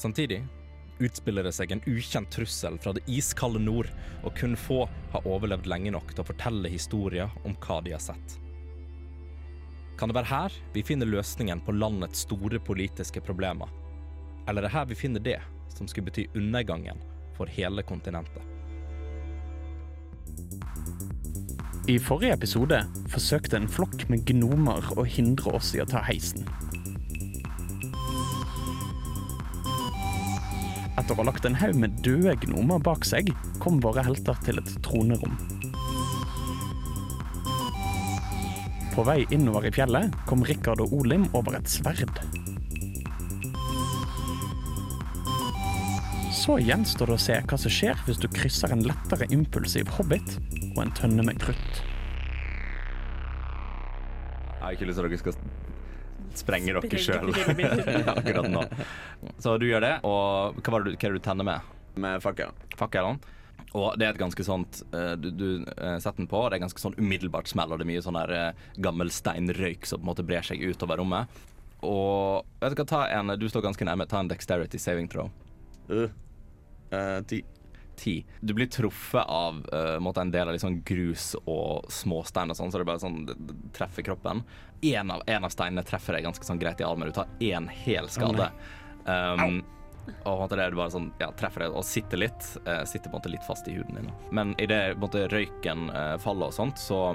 Samtidig utspiller det seg en ukjent trussel fra det iskalde nord, og kun få har overlevd lenge nok til å fortelle historier om hva de har sett. Kan det være her vi finner løsningen på landets store politiske problemer? Eller er det her vi finner det som skulle bety undergangen for hele kontinentet? I forrige episode forsøkte en flokk med gnomer å hindre oss i å ta heisen. Etter å ha lagt en haug med døde gnomer bak seg, kom våre helter til et tronerom. På vei innover i fjellet kom Rikard og Olim over et sverd. Så gjenstår det å se hva som skjer hvis du krysser en lettere impulsiv hobbit og en tønne med krutt. Jeg har ikke lyst til at dere skal sprenge dere Sprenge sjøl akkurat nå. Så du gjør det, og hva, var det, du- hva er det du tenner med? med fakkel. Fakkelen. Og det er et ganske sånt eh, Du, du eh, setter den på, og det er ganske sånn umiddelbart smell, og det er mye sånn der eh, gammel steinrøyk som på en måte brer seg utover rommet. Og jeg skal ta en Du står ganske nærme. Ta en dexterity saving throw. Uh. Eh, ti. 10. Du blir truffet av eh, måtte en del av liksom grus og småstein og sånn, så det bare sånn det, det treffer kroppen. En av, en av steinene treffer deg ganske sånn greit i armen. Du tar én hel skade. um, og på en måte det er bare sånn, ja, treffer deg og sitter litt eh, Sitter på en måte litt fast i huden din. Men idet røyken eh, faller og sånt, så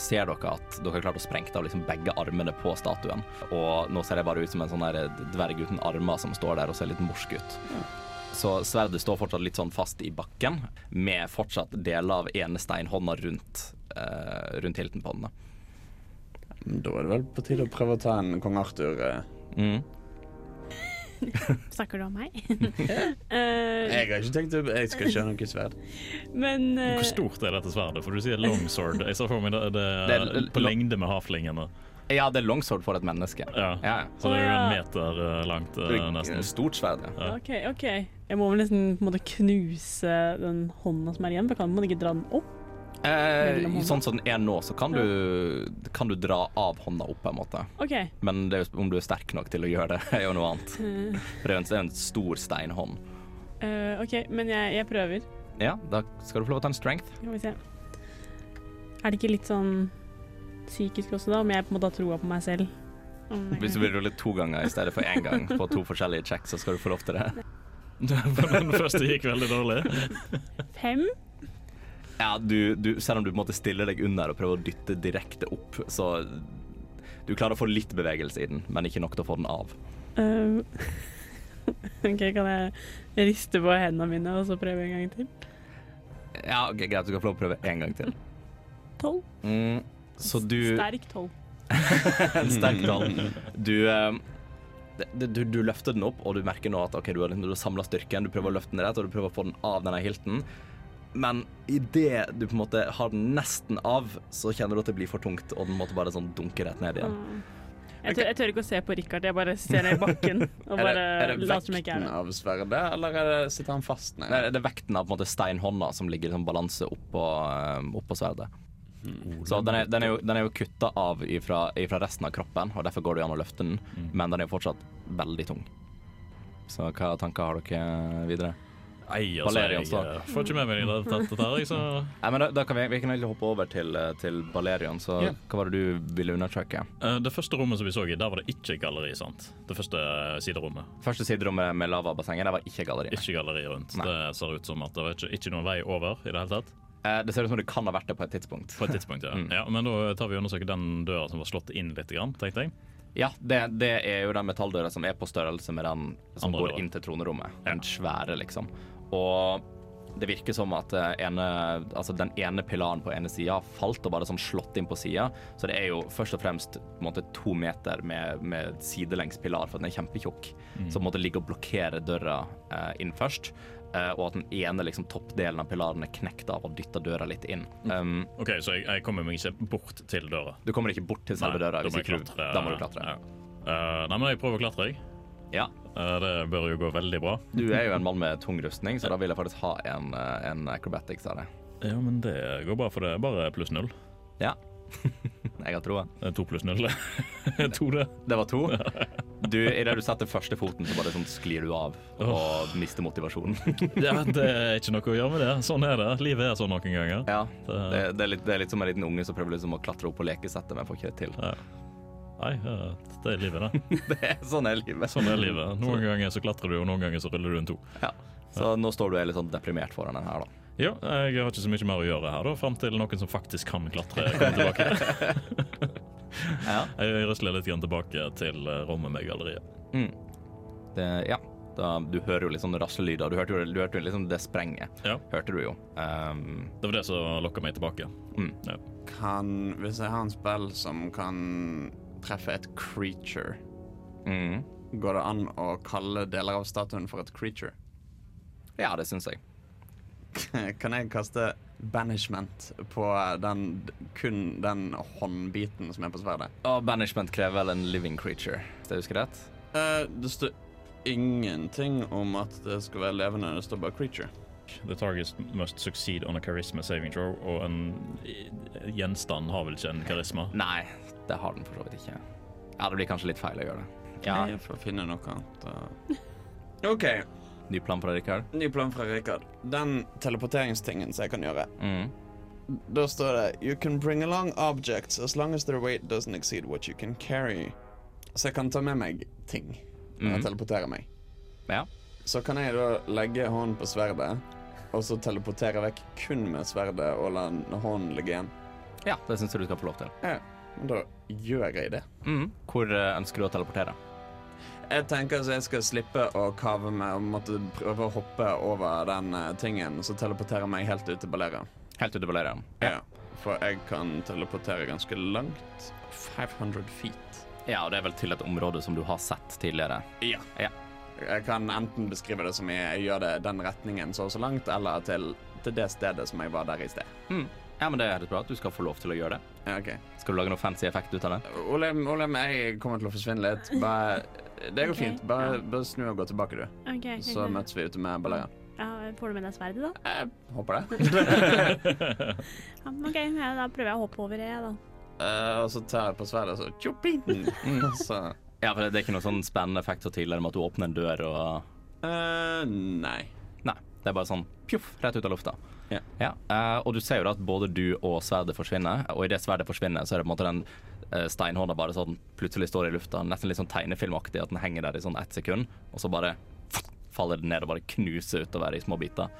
ser dere at dere har klart å sprenge av liksom begge armene på statuen. Og nå ser jeg bare ut som en sånn der dverg uten armer som står der og ser litt morsk ut. Så sverdet står fortsatt litt sånn fast i bakken, med fortsatt deler av ene steinhånda rundt, eh, rundt hilten på den. da. Da er det vel på tide å prøve å ta en kong Arthur. eh. Mm. Snakker du om meg? Eh, Jeg har ikke tenkt å Jeg skal ikke ha noe sverd. men eh, Hvor stort er dette sverdet? For du sier longsword. Jeg ser for meg det, det, Det er er l- på lo- lengde med havlingene. Ja, det er longsword for et menneske. Ja. Ja, ja. Så det er jo Å, en ja. meter eh, langt, eh, Det er nesten. et Stort sverd, ja. OK, OK. Jeg må vel nesten på en måte knuse den hånda som er igjen. for Kan man ikke dra den opp? Eh, Mellom hånda. sånn som den er nå, så kan du, kan du dra av hånda opp, på en måte. OK. Men det er jo, om du er sterk nok til å gjøre det, er jo noe annet. Eh, For det er jo en, det er en stor steinhånd. eh, OK, men jeg, jeg prøver. Ja, da skal du få lov til å ta en strength. Skal vi se. Er det ikke litt sånn psykisk også, da? Om jeg på en måte har troa på meg selv? Om jeg- Hvis du vil rulle to ganger i stedet for én gang på to forskjellige checks, så skal du få lov til det. Den første gikk veldig dårlig. Fem? Ja, du, du, selv om du på en måte stiller deg under og prøver å dytte direkte opp, så du klarer å få litt bevegelse i den, men ikke nok til å få den av. Eh, OK, kan jeg riste på hendene mine og så prøve en gang til? Ja, ok, Greit, du kan få lov til å prøve en gang til. Tolv. Mm, så du Sterk tolv. En sterk dal. Du, eh, det- du, du løfter den opp, og du merker nå at ok, du har, liksom- du har samla styrken. Du prøver å løfte den rett, og du prøver å få den av denne hilten. Men idet du på en måte har den nesten av, så kjenner du at det blir for tungt, og den måtte bare sånn dunke rett ned igjen. Jeg tør, jeg tør ikke å se på Richard, jeg bare ser ned i bakken Er og det- bare er det later som jeg ikke er Vekten der. av sverdet, eller er det, sitter han fast? Nei. Nei, det er vekten av på en måte steinhånda som ligger i sånn balanse oppå, eh, oppå sverdet. Så den er, den er jo, den er jo kutta av ifra, ifra resten av kroppen, og derfor går det jo an å løfte den, men den er jo fortsatt veldig tung. Så hva tanker har dere videre? Nei, altså, Valerian, jeg så. eh, får ikke med meg det- dette dette her, jeg, så Nei, men da, da kan vi, vi kan egentlig hoppe over til, eh, til Balerion, så hva var det du ville undersøke? Eh, Det første rommet som vi så i, der var det ikke galleri, sant? Det første eh, siderommet. Første siderommet med lavabassenget, der var ikke galleriet. Ikke galleri rundt. Nei. Det ser ut som at det var ikke, ikke noen vei over i det hele tatt. Eh, det ser ut som det kan ha vært det på et tidspunkt. På et tidspunkt, ja. Mm. ja men da tar vi og undersøker den døra som var slått inn litt, grann, tenkte jeg. Ja, det, det er jo den metalldøra som er på størrelse med den som Andre går døra. inn til tronerommet. Ja. Den svære, liksom. Og Det virker som at eh, ene, altså den ene pilaren på ene sida har falt og bare sånn slått inn på sida. Så det er jo først og fremst på en måte, to meter med, med sidelengs pilar, for den er kjempetjukk. Mm. Som måtte ligge og blokkere døra eh, inn først. eh, og at den ene liksom, toppdelen av pilaren er knekt av og dytta døra litt inn. Mm. Um, OK, så jeg, jeg kommer meg ikke bort til døra. du kommer ikke bort til selve Nei, døra. da Hvis må jeg ikke du, klatre. da må du klatre. Ja. Eh, nei, men jeg prøver å klatre, jeg. Ja. Eh, det bør jo gå veldig bra. Du er jo en mann med tung rustning, så da vil jeg faktisk ha en, eh, en acrobatics av deg. Ja, men det går bra, for det er bare pluss null. Ja. jeg har troa. Eh, To pluss null. to, det. Det var to. Du, Idet du setter første foten, så bare sånn sklir du av og mister motivasjonen. Ja, det er ikke noe å gjøre med det. Sånn er det. Livet er sånn noen ganger. Ja, det, Det, det, er litt, det er litt som en liten unge som prøver liksom å klatre opp på lekesettet, men får ikke det til. nei, eh, det er livet, det. Det er sånn er livet. Sånn er livet. Noen ganger så klatrer du, og noen ganger så ruller du en to. Ja. Så nå står du og er litt sånn deprimert foran den her, da. Ja, jeg har ikke så mye mer å gjøre her, da, fram til noen som faktisk kan klatre, kommer tilbake. Ja. Jeg rusler litt grann tilbake til eh, rommet med galleriet. Mm. Det, ja. Da, du hører jo litt sånn raslelyder. Du hørte jo, du hørte jo liksom det sprenget. Ja. Hørte du jo. Ehm, Det var det som lokka meg tilbake. mm. Kan, hvis jeg har en spill som kan treffe et creature, Mm. går det an å kalle deler av statuen for et creature? Ja, det syns jeg. Kan jeg kaste banishment på den, kun den håndbiten som er på sverdet? Og banishment krever vel en living creature, hvis jeg husker rett? Eh, det står ingenting om at det skal være levende, det står bare creature. The target must succeed on a charisma saving throw, og en i- gjenstand har vel ikke en karisma. Nei, det har den for så vidt ikke. Ja, det blir kanskje litt feil å gjøre det. Ja, Jeg får finne noe annet. da. OK, Ny plan fra Rikard? ny plan fra Rikard. Den teleporteringstingen som jeg kan gjøre, Mm. da står det You can bring along objects as long as their weight doesn't exceed what you can carry. Så jeg kan ta med meg ting når jeg Mhm. teleporterer meg. Ja. Så kan jeg da legge hånden på sverdet, og så teleportere vekk kun med sverdet og la hånden ligge igjen. ja, det syns jeg du skal få lov til. Men da gjør jeg det. Mm. Hvor eh, ønsker du å teleportere? Jeg tenker så jeg skal slippe å kave meg og måtte prøve å hoppe over den eh, tingen, så teleportere meg helt ut til Balerian. Helt ute på leiren. Ja. For jeg kan teleportere ganske langt. 500 feet. Ja, og det er vel til et område som du har sett tidligere. Ja. Ja. Jeg kan enten beskrive det som jeg, jeg gjør det den retningen så og så langt, eller til, til det stedet som jeg var der i sted. Mm. Ja, men det er helt bra at du skal få lov til å gjøre det. Ja, OK. Skal du lage noe fancy effekt ut av det? Olem, Olem, jeg kommer til å forsvinne litt. Bare, det går Ok, fint. Bare, ja. bare snu og gå tilbake, du. Ok, ok, Så ok. møtes vi ute med Balerian. Ja, får du med deg sverdet, da? Jeg håper det. Ja, men OK, ja, da prøver jeg å hoppe over det, jeg, da. Eh, og så tar jeg på sverdet, og så tjoping! Og så Ja, for det er ikke noe sånn spennende effekt så tidligere med at du åpner en dør og Eh, nei. Nei. Det er bare sånn pjoff, rett ut av lufta. Ja. eh, og du ser jo da at både du og sverdet forsvinner, og idet sverdet forsvinner, så er det på en måte den eh, steinhånda bare sånn plutselig står i lufta, nesten litt sånn tegnefilmaktig, at den henger der i sånn ett sekund, og så bare faller den ned og bare knuser utover i små biter.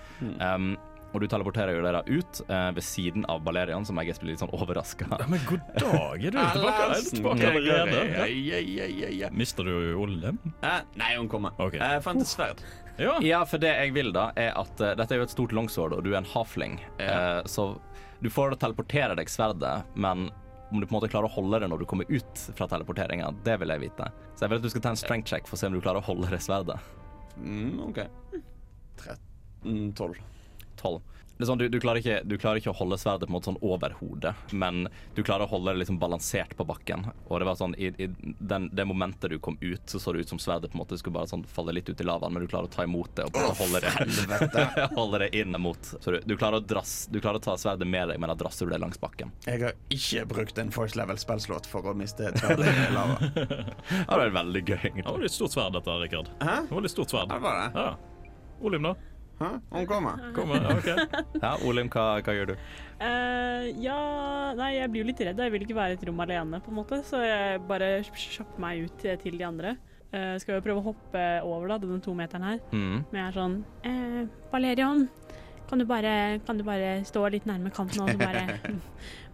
Um, og du teleporterer jo dere ut eh, ved siden av Balerian, som jeg er litt sånn overraska. Men god dag, er du tilbake, er du tilbake Ja, allerede? ja, ja, ja, ja. Mister du Olem? Eh, nei, hun kommer. Ok. Eh, jeg fant et sverd. Ja. Ja, for det jeg vil da, er at eh, dette er jo et stort longsword, og du er en halfling. Ja. Eh, så du får teleportere deg sverdet, men om du på en måte klarer å holde det når du kommer ut fra teleporteringa, det vil jeg vite. Så jeg vil at du skal ta en strength check for å se om du klarer å holde det sverdet. Mm, OK. 13 12. 12. Det er sånn, du, du, klarer ikke, du klarer ikke å holde sverdet på en måte sånn over hodet, men du klarer å holde det liksom balansert på bakken. Og det var sånn, i, i den, det momentet du kom ut, så så det ut som sverdet på en måte skulle bare sånn falle litt ut i lavaen, men du klarer å ta imot det og på en måte holde det, holde det inn mot. Så du, du, klarer å drass, du klarer å ta sverdet med deg, men da drasser du det langs bakken. Jeg har ikke brukt en force level spillslåt for å miste sverdet i lava. Ja, det er veldig gøy, Det var egentlig. litt stort sverd, dette, Rikard. Hæ? Det var litt stort sverd. Ja, var det? Ja. Olim, da? Hæ? Hun kommer. Kom med. Ja, OK. Ja, Olim, hva, hva gjør du? Eh, ja Nei, jeg blir jo litt redd. da. Jeg vil ikke være i et rom alene, på en måte. Så jeg bare kjapper meg ut til- til de andre. Eh, skal jo prøve å hoppe over da, denne tometeren her. Mm. Men jeg er sånn eh, Valerian, kan du, bare, kan du bare stå litt nærme kanten og så bare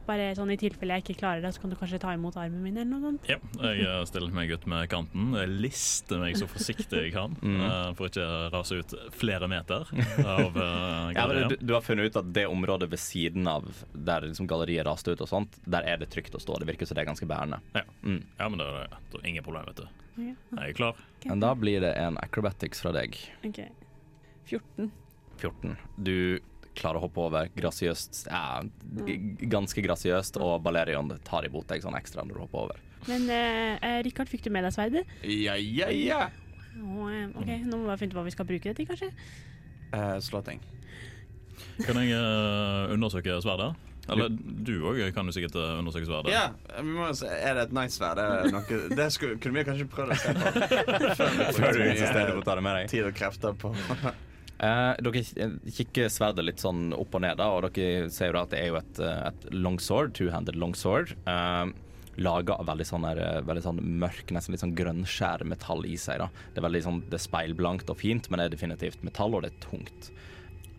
Bare sånn i tilfelle jeg ikke klarer det, så kan du kanskje ta imot armen min, eller noe sånt. Ja, jeg eh, stiller meg ut med kanten. Jeg lister meg så forsiktig jeg kan Mm. eh, for ikke å rase ut flere meter av eh, Ja, men du, galleriet. du har funnet ut at det området ved siden av der liksom galleriet raste ut, og sånt, der er det trygt å stå. Det virker som det er ganske bærende. Ja. Mm. Ja, men det er det. Det er ingen problem, vet du. Ok, Jeg er klar. Men da blir det en acrobatics fra deg. Ok. 14. 14. Du klarer å hoppe over grasiøst ja, g- Ganske grasiøst, og Balerion tar imot deg sånn ekstra når du hopper over. Men eh, eh, Rikard, fikk du med deg sverdet? Ja, ja, ja. Å, eh, OK, Mhm. nå må vi bare finne ut hva vi skal bruke det til, kanskje. Eh, slå ting. Kan jeg eh, undersøke sverdet? Eller du òg kan jo sikkert eh, undersøke sverdet. Ja, vi må se. Er det et nice sverd? Er det noe Det skulle, kunne vi kanskje prøvd å se på. Før du insisterer på å ta det med deg. Tid og krefter på Eh, dere k- kikker sverdet litt sånn opp og ned, da, og dere ser jo da at det er jo et, eh, et longsword, two-handed longsword. Uh, Laga av veldig sånn, her, eh, veldig sånn mørk, nesten litt sånn grønnskjær metall i seg. da. Det er veldig sånn, det er speilblankt og fint, men det er definitivt metall, og det er tungt.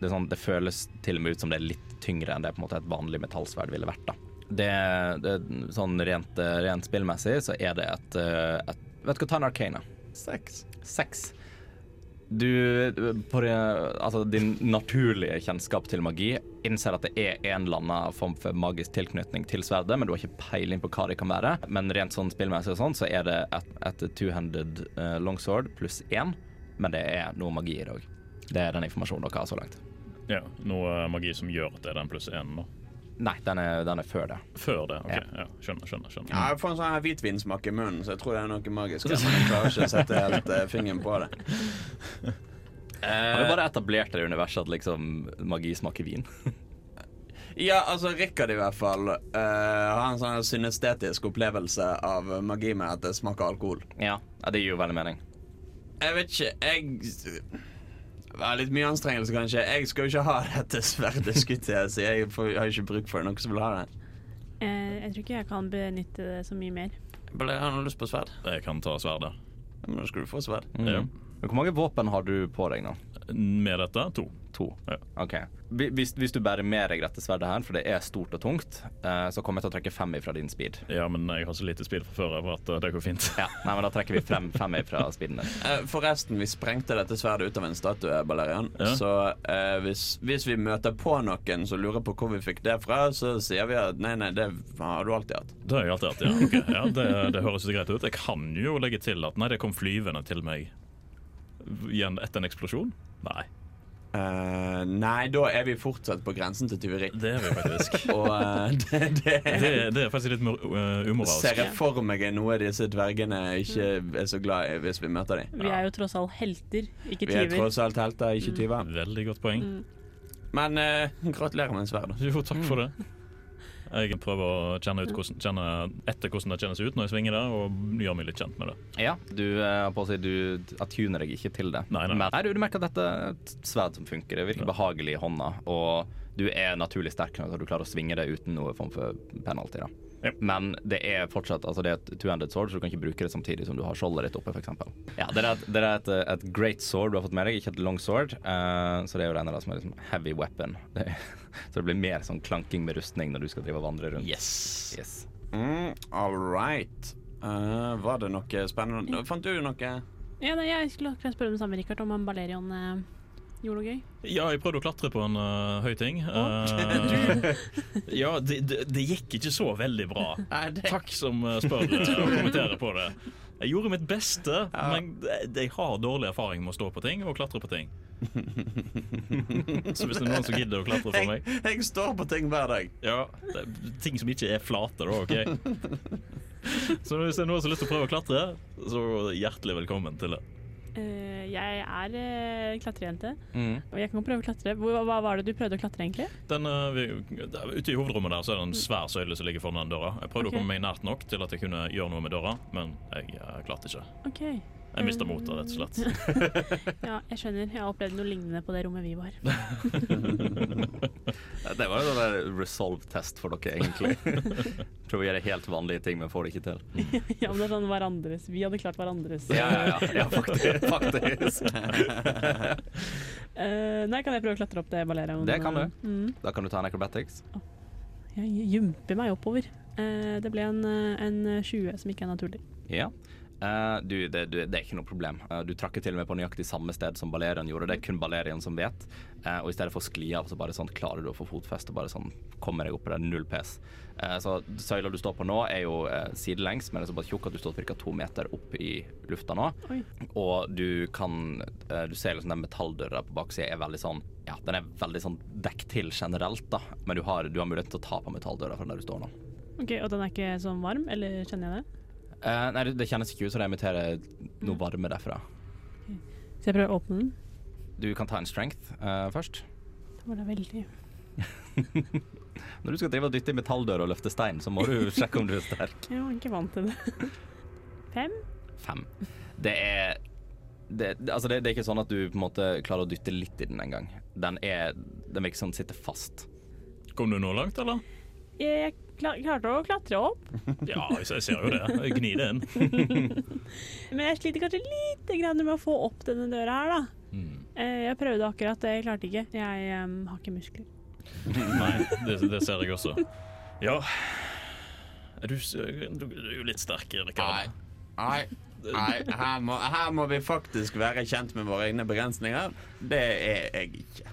Det, er sånn, det føles til og med ut som det er litt tyngre enn det på en måte et vanlig metallsverd ville vært. da. Det, det sånn rent, eh, rent spillmessig så er det et, eh, et Vet du hva, ta en arcana. sex. Seks. Du, på det, altså din naturlige kjennskap til magi, innser at det er en eller annen form for magisk tilknytning til sverdet, men du har ikke peiling på hva det kan være. Men rent sånn spillmessig og sånn, så er det et, et two-handed eh, longsword pluss én, men det er noe magi i det òg. Det er den informasjonen dere har så langt. Ja, Noe eh, magi som gjør at det er den pluss én nå. Nei, den er, den er før det. Før det. ok. Ja, skjønner, skjønner. skjønner. Ja, jeg får en sånn her hvitvinsmak i munnen, så jeg tror det er noe magisk. her, Men jeg klarer ikke å sette helt eh, fingeren på det. Har du bare etablert det i universet at liksom magi smaker vin? Ja, altså Rikard i hvert fall eh, har en sånn synestetisk opplevelse av magi med at det smaker alkohol. Ja, ja det gir jo veldig mening. Jeg vet ikke, jeg det er litt mye anstrengelse, kanskje. Jeg skal jo ikke ha dette sverdet, skutt jeg si. Jeg får, har ikke bruk for det. Noen som vil ha det? Eh, jeg tror ikke jeg kan benytte det så mye mer. Ble han lyst på sverd? Jeg kan ta sverdet. Ja, Men da skal du få sverd. Mm. Ja. Men Hvor mange våpen har du på deg nå? Med dette to. To. Ja. Ok. Hvi- Hvis, hvis du bærer med deg dette sverdet her, for det er stort og tungt, eh, så kommer jeg til å trekke fem ifra din speed. Ja, men jeg har så lite speed fra før av at eh, det går fint. Ja, nei, men Da trekker vi frem fem ifra speeden din. Eh, Forresten, vi sprengte dette sverdet ut av en statue, Balerian. Ja. Så eh, hvis, hvis vi møter på noen som lurer på hvor vi fikk det fra, så sier vi at nei, nei, det har du alltid hatt. Det har jeg alltid hatt, ja. ok. ja det, det høres jo greit ut. Jeg kan jo legge til at nei, det kom flyvende til meg igjen etter en eksplosjon. Nei, Eh, nei, da er vi fortsatt på grensen til tyveri. det er vi faktisk. Og eh, det, det, Det, det er faktisk litt mor- eh, ser umoralsk. jeg for meg er noe disse dvergene ikke er så glad i hvis vi møter dem. Vi er jo tross alt helter, ikke Vi er tyver. tross alt helter, ikke tyver. Veldig godt poeng. Men eh, gratulerer med sverdet. Jo, takk for det. Jeg prøver å kjenne, ut hvordan, kjenne etter hvordan det kjennes ut når jeg svinger det, og gjør meg litt kjent med det. Ja, du eh, har på å si du attuner deg ikke til det. Nei, nei. Men, nei du, du merker at dette er et sverd som funker. Det virker behagelig i hånda, og du er naturlig sterk nok til at du klarer å svinge det uten noe form for penalty. da. Ja. Men det er fortsatt altså det er et two-handed sword, så du kan ikke bruke det samtidig som du har skjoldet ditt oppe, f.eks. Ja, det er, et, det er et, et great sword du har fått med deg, ikke et long sword. eh, så det er jo det ene da som er liksom heavy weapon. Det, så det blir mer sånn klanking med rustning når du skal drive og vandre rundt. Yes. Yes. Mm, all right. Eh, var det noe spennende? Fant du noe? Ja, nei, jeg skulle akkurat spørre om det samme, Rikard, om han Balerion eh, gjorde noe gøy. Ja, jeg prøvde å klatre på en eh, høy ting. Eh, ja, det, det, det gikk ikke så veldig bra. Takk som eh, spør eh, og kommenterer på det. Jeg gjorde mitt beste, men jeg- jeg har dårlig erfaring med å stå på ting og klatre på ting. Så hvis det er noen som gidder å klatre for meg Jeg, jeg står på ting hver dag. Ja, det er Ting som ikke er flate, da, OK? Så hvis det er noen som har lyst til å prøve å klatre, så hjertelig velkommen til det. Eh, jeg er eh, klatrejente, Mm. Mhm. og jeg kan prøve å klatre. Hva, hva var det du prøvde å klatre, egentlig? Den, eh, vi, der, ute i hovedrommet der så er det en svær søyle som ligger foran den døra. Jeg prøvde Ok. å komme meg nært nok til at jeg kunne gjøre noe med døra, men jeg eh, klarte ikke. OK. Jeg mista motet, rett og slett. Ja, jeg skjønner. Jeg har opplevd noe lignende på det rommet vi var. Det var jo den der resolve-test for dere, egentlig. Prøve å gjøre helt vanlige ting, men får det ikke til. ja, men det er sånn hverandres. Vi hadde klart hverandres. Ja, ja, ja, ja faktisk, faktisk. Eh, nei, kan jeg prøve å klatre opp det Balerion? Det kan du. Mm. Da kan du ta en acrobatics. Jeg jumper meg oppover. Eh, det ble en, eh, en 20 som ikke er naturlig. Ja. Eh, du, det, du, det er ikke noe problem. Eh, du trakk jo til og med på nøyaktig samme sted som Balerian gjorde. Det er kun Balerian som vet. Eh, og i stedet for å skli av, så bare sånn klarer du å få fotfeste og bare sånn kommer deg opp på det. Null pes. Eh, så søyla du står på nå, er jo eh, sidelengs, men det er såpass tjukk at du står ca. to meter opp i lufta nå. Oi. Og du kan eh, Du ser liksom den metalldøra på baksida er veldig sånn Ja, den er veldig sånn dekk til generelt, da. Men du har, du har mulighet til å ta på metalldøra fra der du står nå. Ok, Og den er ikke sånn varm, eller kjenner jeg det? Eh, nei, det, det kjennes ikke ut som det emitterer noe varme derfra. Så jeg prøver å åpne den. Du kan ta en strength eh, først. Det var da veldig Når du skal drive og dytte i metalldøra og løfte stein, så må du sjekke om du er sterk. Jeg var ikke vant til det. Fem? Fem. Det er det, det- altså det, det er ikke sånn at du på en måte klarer å dytte litt i den engang. Den er Den virker som den sitter fast. Kom du nå langt, eller? Jeg kla- klarte å klatre opp, Ja, jeg ser- jeg ser jo det. Gni det inn. men jeg sliter kanskje lite grann med å få opp denne døra her, da. Eh, Jeg prøvde akkurat, jeg klarte ikke. Jeg em, har ikke muskler. Nei, det, det ser jeg også. Ja Er du, s- du, du er jo litt sterkere, Karl. Nei. Nei. Nei, her må, her må vi faktisk være kjent med våre egne begrensninger. Det er jeg ikke.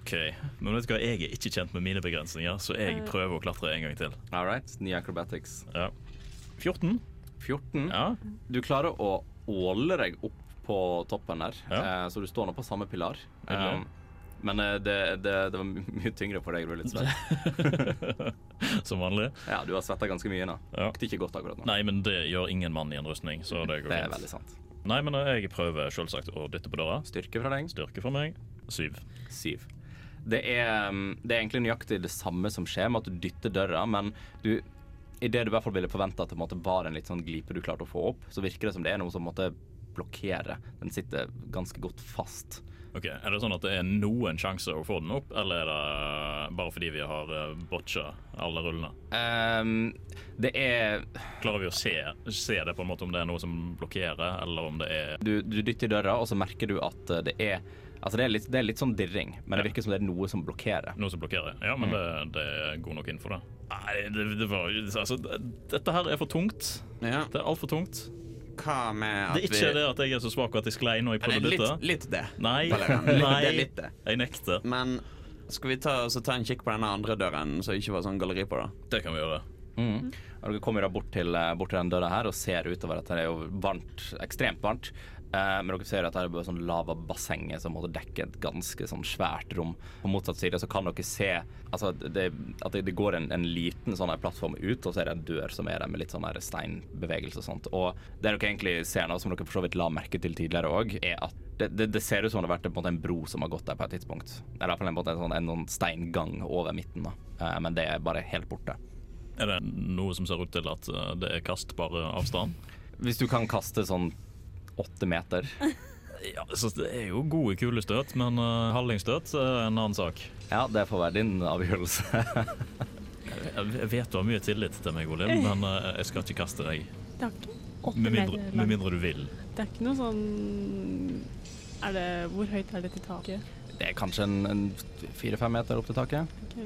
OK. Men vet du hva, jeg er ikke kjent med mine begrensninger, så jeg prøver å klatre en gang til. All right. Ny acrobatics. Ja. 14. 14. Ja. Du klarer å åle deg opp på toppen der, Ja. eh, så du står nå på samme pilar. Ok. Um, men eh, det, det, det var my- mye tyngre for deg. Du er litt svett. Som vanlig. Ja, du har svetta ganske mye nå. Ja. Lukter ikke godt akkurat nå. Nei, men det gjør ingen mann i en rustning, så det går Det er fint. veldig sant. Nei, men eh, jeg prøver selvsagt å dytte på døra. Styrke fra deg. Styrke for meg. Syv. Syv. Det er, um, det er egentlig nøyaktig det samme som skjer med at du dytter døra, men du i det du i hvert fall ville forvente at det på en måte var en litt sånn glipe du klarte å få opp, så virker det som det er noe som måtte blokkere. Den sitter ganske godt fast. Ok, Er det sånn at det er noen sjanse å få den opp, eller er det bare fordi vi har eh, botcha alle rullene? Um, det er Klarer vi å se, se det på en måte om det er noe som blokkerer, eller om det er Du, du dytter i døra, og så merker du at eh, det er Altså, det er litt, det er litt sånn dirring, men det Ja. virker som det er noe som blokkerer. noe som blokkerer? Ja, Mm. men det, det er god nok info, da. Nei, det, det var Altså, det- dette her er for tungt. Ja. Det er altfor tungt. Hva med at Det er ikke vi det at jeg er så svak og at jeg sklei når jeg Det prøvde er å dytte. litt, litt det. Nei. Valerian. Litt- Nei. Det er litt det. Jeg nekter. Men skal vi ta, så ta en kikk på denne andre døren, så det ikke var sånn galleri på, da? Det kan vi gjøre. Mm. Og dere kommer da bort til, eh, bort til den døra her og ser utover at det er jo varmt, ekstremt varmt. Eh, men dere ser at det er bare sånn lavabassenget som måtte dekke et ganske sånn svært rom. På motsatt side så kan dere se altså, at det, at det, det går en, en liten sånn her plattform ut, og så er det en dør som er der med litt sånn her steinbevegelse og sånt. Og det dere egentlig ser nå, som dere for så vidt la merke til tidligere òg, er at det, det, det ser ut som det har vært en, på en, måte en bro som har gått der på et tidspunkt. Eller i hvert fall en, på en, måte en, sånn, en sånn steingang over midten, da. Eh, men det er bare helt borte. Er det noe som ser ut til at eh, det er kastbar avstand? Hvis du kan kaste sånn åtte meter. Ja, så Det er jo gode kulestøt, men uh, hallingstøt er en annen sak. Ja, det får være din avgjørelse. Jeg vet du har mye tillit til meg, Olin, men eh, jeg skal ikke kaste deg. Det er ikke åtte Med mindre, meter med langt. mindre du vil. Det er ikke noe sånn er det, Hvor høyt er det til taket? Det er kanskje en, en fire-fem meter opp til taket. Ok.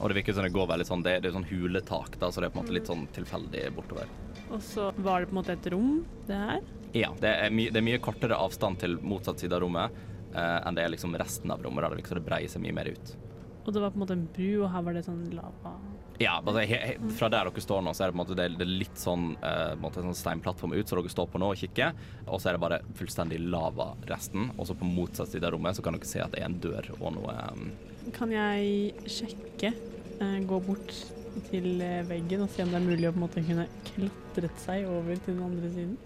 Og det virker som det går veldig sånn, det, det er jo sånn huletak, da, så det er på en måte litt sånn tilfeldig bortover. Og så var det på en måte et rom, det her. Ja, det er, my, det er mye kortere avstand til motsatt side av rommet eh, enn det er liksom resten av rommet. Da det virker som det breier seg mye mer ut. Og det var på en måte en bru, og her var det sånn lava. Ja, altså, he, he, fra der dere står nå, så er det på en måte det, er- det er litt sånn, eh, på en måte en sånn steinplattform ut, så dere står på nå og kikker, og så er det bare fullstendig lava resten, og så på motsatt side av rommet så kan dere se at det er en dør og noe eh, Kan jeg sjekke, eh, gå bort til eh, veggen og se om det er mulig å på en måte kunne klatret seg over til den andre siden?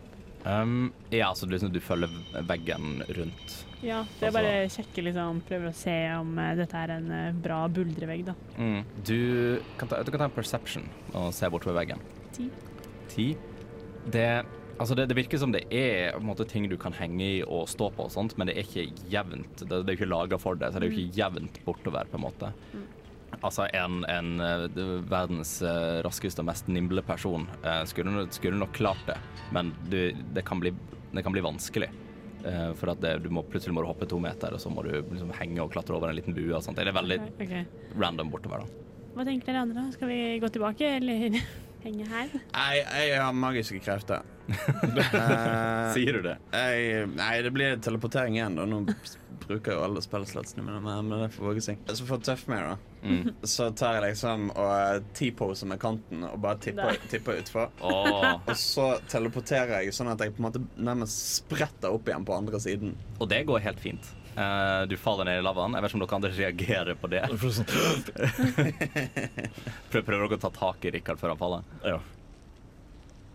Um, ja, altså du, liksom, du følger veggen rundt. Ja, det er bare sjekke, liksom. Prøver å se om eh, dette er en eh, bra buldrevegg, da. Du, kan ta, du kan ta en perception og se bortover veggen. Ti. Ti. Det, altså det, det virker som det er på en måte, ting du kan henge i og stå på, og sånt, men det er ikke jevnt. Det, det er jo ikke laga for det, så det er jo Mm. ikke jevnt bortover, på en måte. Altså, en, en eh, det- verdens eh, raskeste og mest nimble person eh, skulle, no- skulle nok klart det, men du, det, kan bli, det kan bli vanskelig. Eh, for at det, du må, plutselig må du hoppe to meter, og så må du liksom henge og klatre over en liten bue og sånt. Det er veldig Ok. random bortover, da. Hva tenker dere andre? Skal vi gå tilbake, eller henge her? Nei, jeg har magiske krefter. Eh, Sier du det? jeg, nei, det blir teleportering igjen, da. Nå s- bruker jeg jo alle spillslotsene mine, men- men det får våge seg. Så for Toughmare, da, så tar jeg liksom og eh, T-poser med kanten og bare tipper, Nei. tipper utfor. Åh. Og så teleporterer jeg sånn at jeg på en måte nærmest spretter opp igjen på andre siden. Og det går helt fint. Eh, du faller ned i lavaen. Jeg vet ikke om dere andre reagerer på det. Prøv, prøver dere å ta tak i Rikard før han faller? Ja.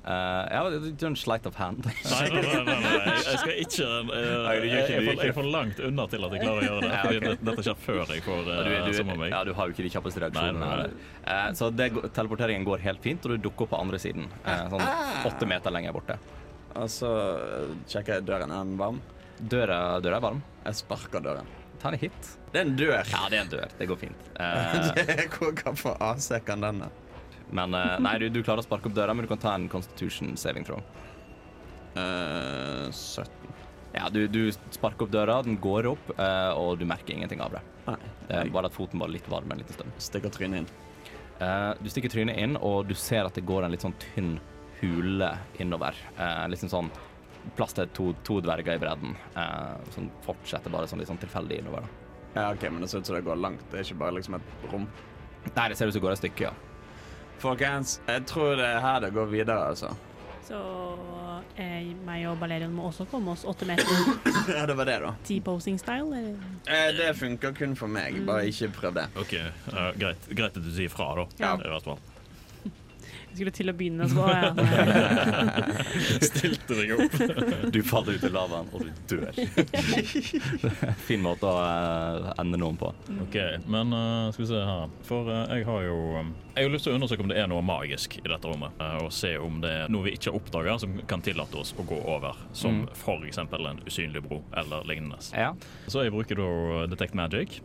Eh, ja, du gjør en sleight of hand. Nei, nei, nei, nei, nei. jeg- jeg skal ikke eh, Nei, du gjør ikke det, du jeg, er gjør for, ikke jeg er for langt unna til at jeg klarer å gjøre det. Ja, Fordi ok. det- Dette skjer før jeg får Ja, Du, eh, du, sommermegg. ja, du har jo ikke de kjappeste reaksjonene. Nei, nei, heller. Eh, så det, går- teleporteringen går helt fint, og du dukker opp på andre siden. Eh, sånn åtte meter lenger borte. Og så eh, sjekker jeg døren. Er den varm? Døra, døra er varm. Jeg sparker døren. Ta en hit. Det er en dør! Ja, det er en dør. Det går fint. Eh, Hvor- Hvorfor AC kan den da? men eh, nei, du, du klarer å sparke opp døra, men du kan ta en constitution saving throw. Eh, 17. Ja, du, du sparker opp døra, den går opp, eh, og du merker ingenting av det. Nei. Det er bare at foten var litt varm en liten stund. Stikker trynet inn. Eh, du stikker trynet inn, og du ser at det går en litt sånn tynn hule innover. Eh, liksom sånn plass til to, to dverger i bredden, eh, som fortsetter bare sånn litt sånn tilfeldig innover. Da. Ja, ok, men det ser ut som det går langt. Det er ikke bare liksom et rom. Nei, det ser ut som det går et stykke, ja. Folkens, jeg tror det er her det går videre, altså. Så eh, meg og Balerion må også komme oss åtte meter Ja, det var det, da. T-posing style, eller? Eh, det funker kun for meg. Bare ikke prøv det. OK, eh, greit. greit at du sier fra, da. Ja. I hvert fall. Jeg skulle til å begynne så ja. nei. Stilte deg opp. Du faller ut i lavaen, og du dør. fin måte å eh, ende noen på. OK, men eh, skal vi se her. For eh, jeg har jo um, Jeg har lyst til å undersøke om det er noe magisk i dette rommet. eh, og se om det er noe vi ikke har oppdaga som kan tillate oss å gå over. Som for eksempel en usynlig bro eller lignende. Mm. Ja, Mm. Så jeg bruker da Detect Magic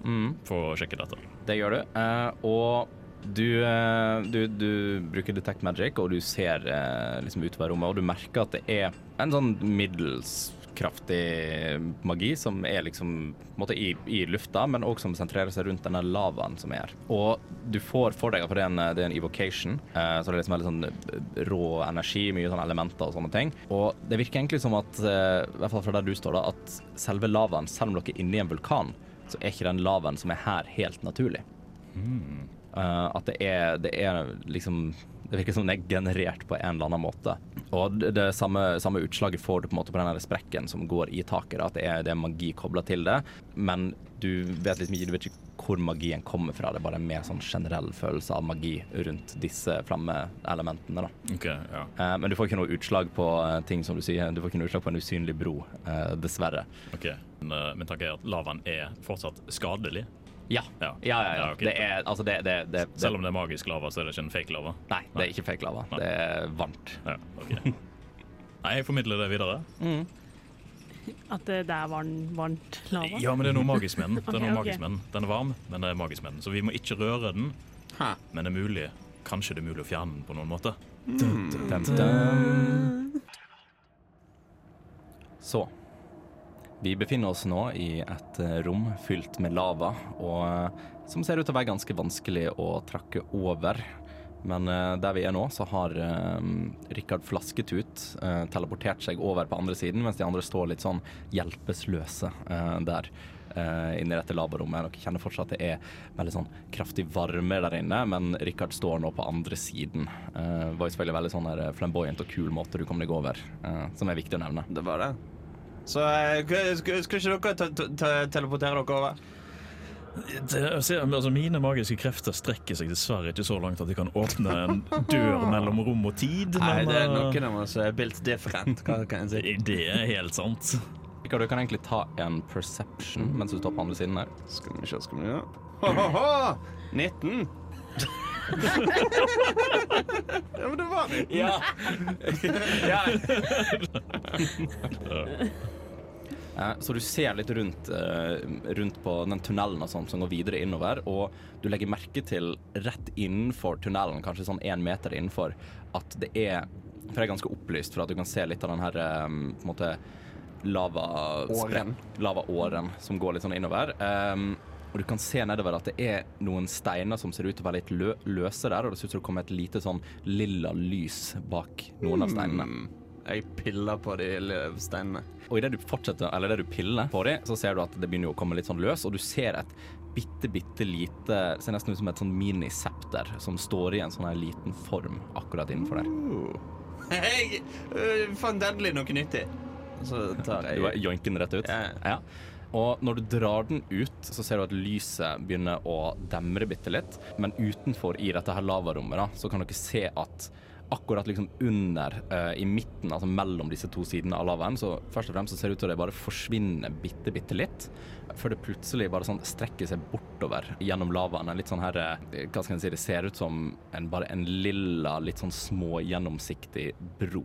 for å sjekke dette. det gjør du. Eh, og du, eh, du, du bruker detect magic, og du ser eh, liksom utover rommet, og du merker at det er en sånn middels kraftig magi som er liksom på en måte i, i lufta, men også som sentrerer seg rundt denne lavaen som er her. Og du får for deg, for det er en, det er en evocation, eh, så det er liksom veldig sånn eh, rå energi, mye sånn elementer og sånne ting. Og det virker egentlig som at, eh, i hvert fall fra der du står da, at selve lavaen, selv om dere er inne i en vulkan, så er ikke den lavaen som er her helt naturlig. Hmm. Eh, at det er, det er liksom Det virker som det er generert på en eller annen måte. Og det, det samme, samme utslaget får du på en måte på den her sprekken som går i taket. da, At det er, det er magi kobla til det. Men du vet liksom ikke, du vet ikke hvor magien kommer fra. Det er bare en mer sånn generell følelse av magi rundt disse flammeelementene. da. OK, ja. Eh, men du får ikke noe utslag på eh, ting som du sier. Du får ikke noe utslag på en usynlig bro, eh, dessverre. Ok, men, eh, Min tanke er at lavaen er fortsatt skadelig. Ja. Ja, Ja. ja, ja. Ja, ok. Det er altså det, det, det, det Selv om det er magisk lava, så er det ikke en fake lava. Nei, det er ikke fake lava. Nei. Det er varmt. Ja, ok. Nei, jeg formidler det videre. At det der var den varmt lava? Ja, men det er noe magisk med den. Det er noe Ok, ok. magisk med den. den er varm, men det er magisk med den. Så vi må ikke røre den, Hæ. men det er mulig. Kanskje det er mulig å fjerne den på noen måte. Så Vi befinner oss nå i et eh, rom fylt med lava, og eh, som ser ut til å være ganske vanskelig å trakke over. Men eh, der vi er nå, så har eh, Rikard Flasketut eh, teleportert seg over på andre siden, mens de andre står litt sånn hjelpeløse eh, der eh, inne i dette laberommet. Dere kjenner fortsatt det er veldig sånn kraftig varme der inne, men Rikard står nå på andre siden. Eh, var jo selvfølgelig veldig sånn der flamboyant og kul måte du kom deg over, eh, som er viktig å nevne. Det var det. Så eh, sk- sk- skal ikke dere te- te- te- teleportere dere over? altså, mine magiske krefter strekker seg dessverre ikke så langt at de kan åpne en dør mellom rom og tid. eh, Nei, det er noen av oss som er built different. Hva kan jeg si? Det er helt sant. Rikard, du kan egentlig ta en perception mens du står på andre siden her. Skal vi se, skal vi gjøre Ho, ho, ho! 19. ja, men det var 19. Ja. Eh, Så du ser litt rundt, eh, rundt på den tunnelen og sånt som går videre innover, og du legger merke til rett innenfor tunnelen, kanskje sånn én meter innenfor, at det er For det er ganske opplyst, for at du kan se litt av den her eh, på en måte lava Åren. lavaåren som går litt sånn innover. Um, Og du kan se nedover at det er noen steiner som ser ut til å være litt lø løse der, og det ser ut som det kommer et lite sånn lilla lys bak noen Mm. av steinene. Hmm. Jeg piller på de lille steinene. Og idet du fortsetter, eller det du piller på dem, så ser du at det begynner å komme litt sånn løs, og du ser et bitte, bitte lite Det ser nesten ut som et sånn minisepter som står i en sånn her liten form akkurat innenfor der. Jeg øh, fant endelig noe nyttig. Så tar Du jeg joinker den rett ut. Ja. Ja. Og når du drar den ut, så ser du at lyset begynner å demre bitte litt. Men utenfor i dette her lavarommet, da, så kan dere se at akkurat liksom under, eh, i midten, altså mellom disse to sidene av lavaen, så først og fremst så ser det ut til at det bare forsvinner bitte, bitte litt. Før det plutselig bare sånn strekker seg bortover gjennom lavaen. En litt sånn her eh, Hva skal en si, det ser ut som en, bare en lilla, litt sånn smågjennomsiktig bro.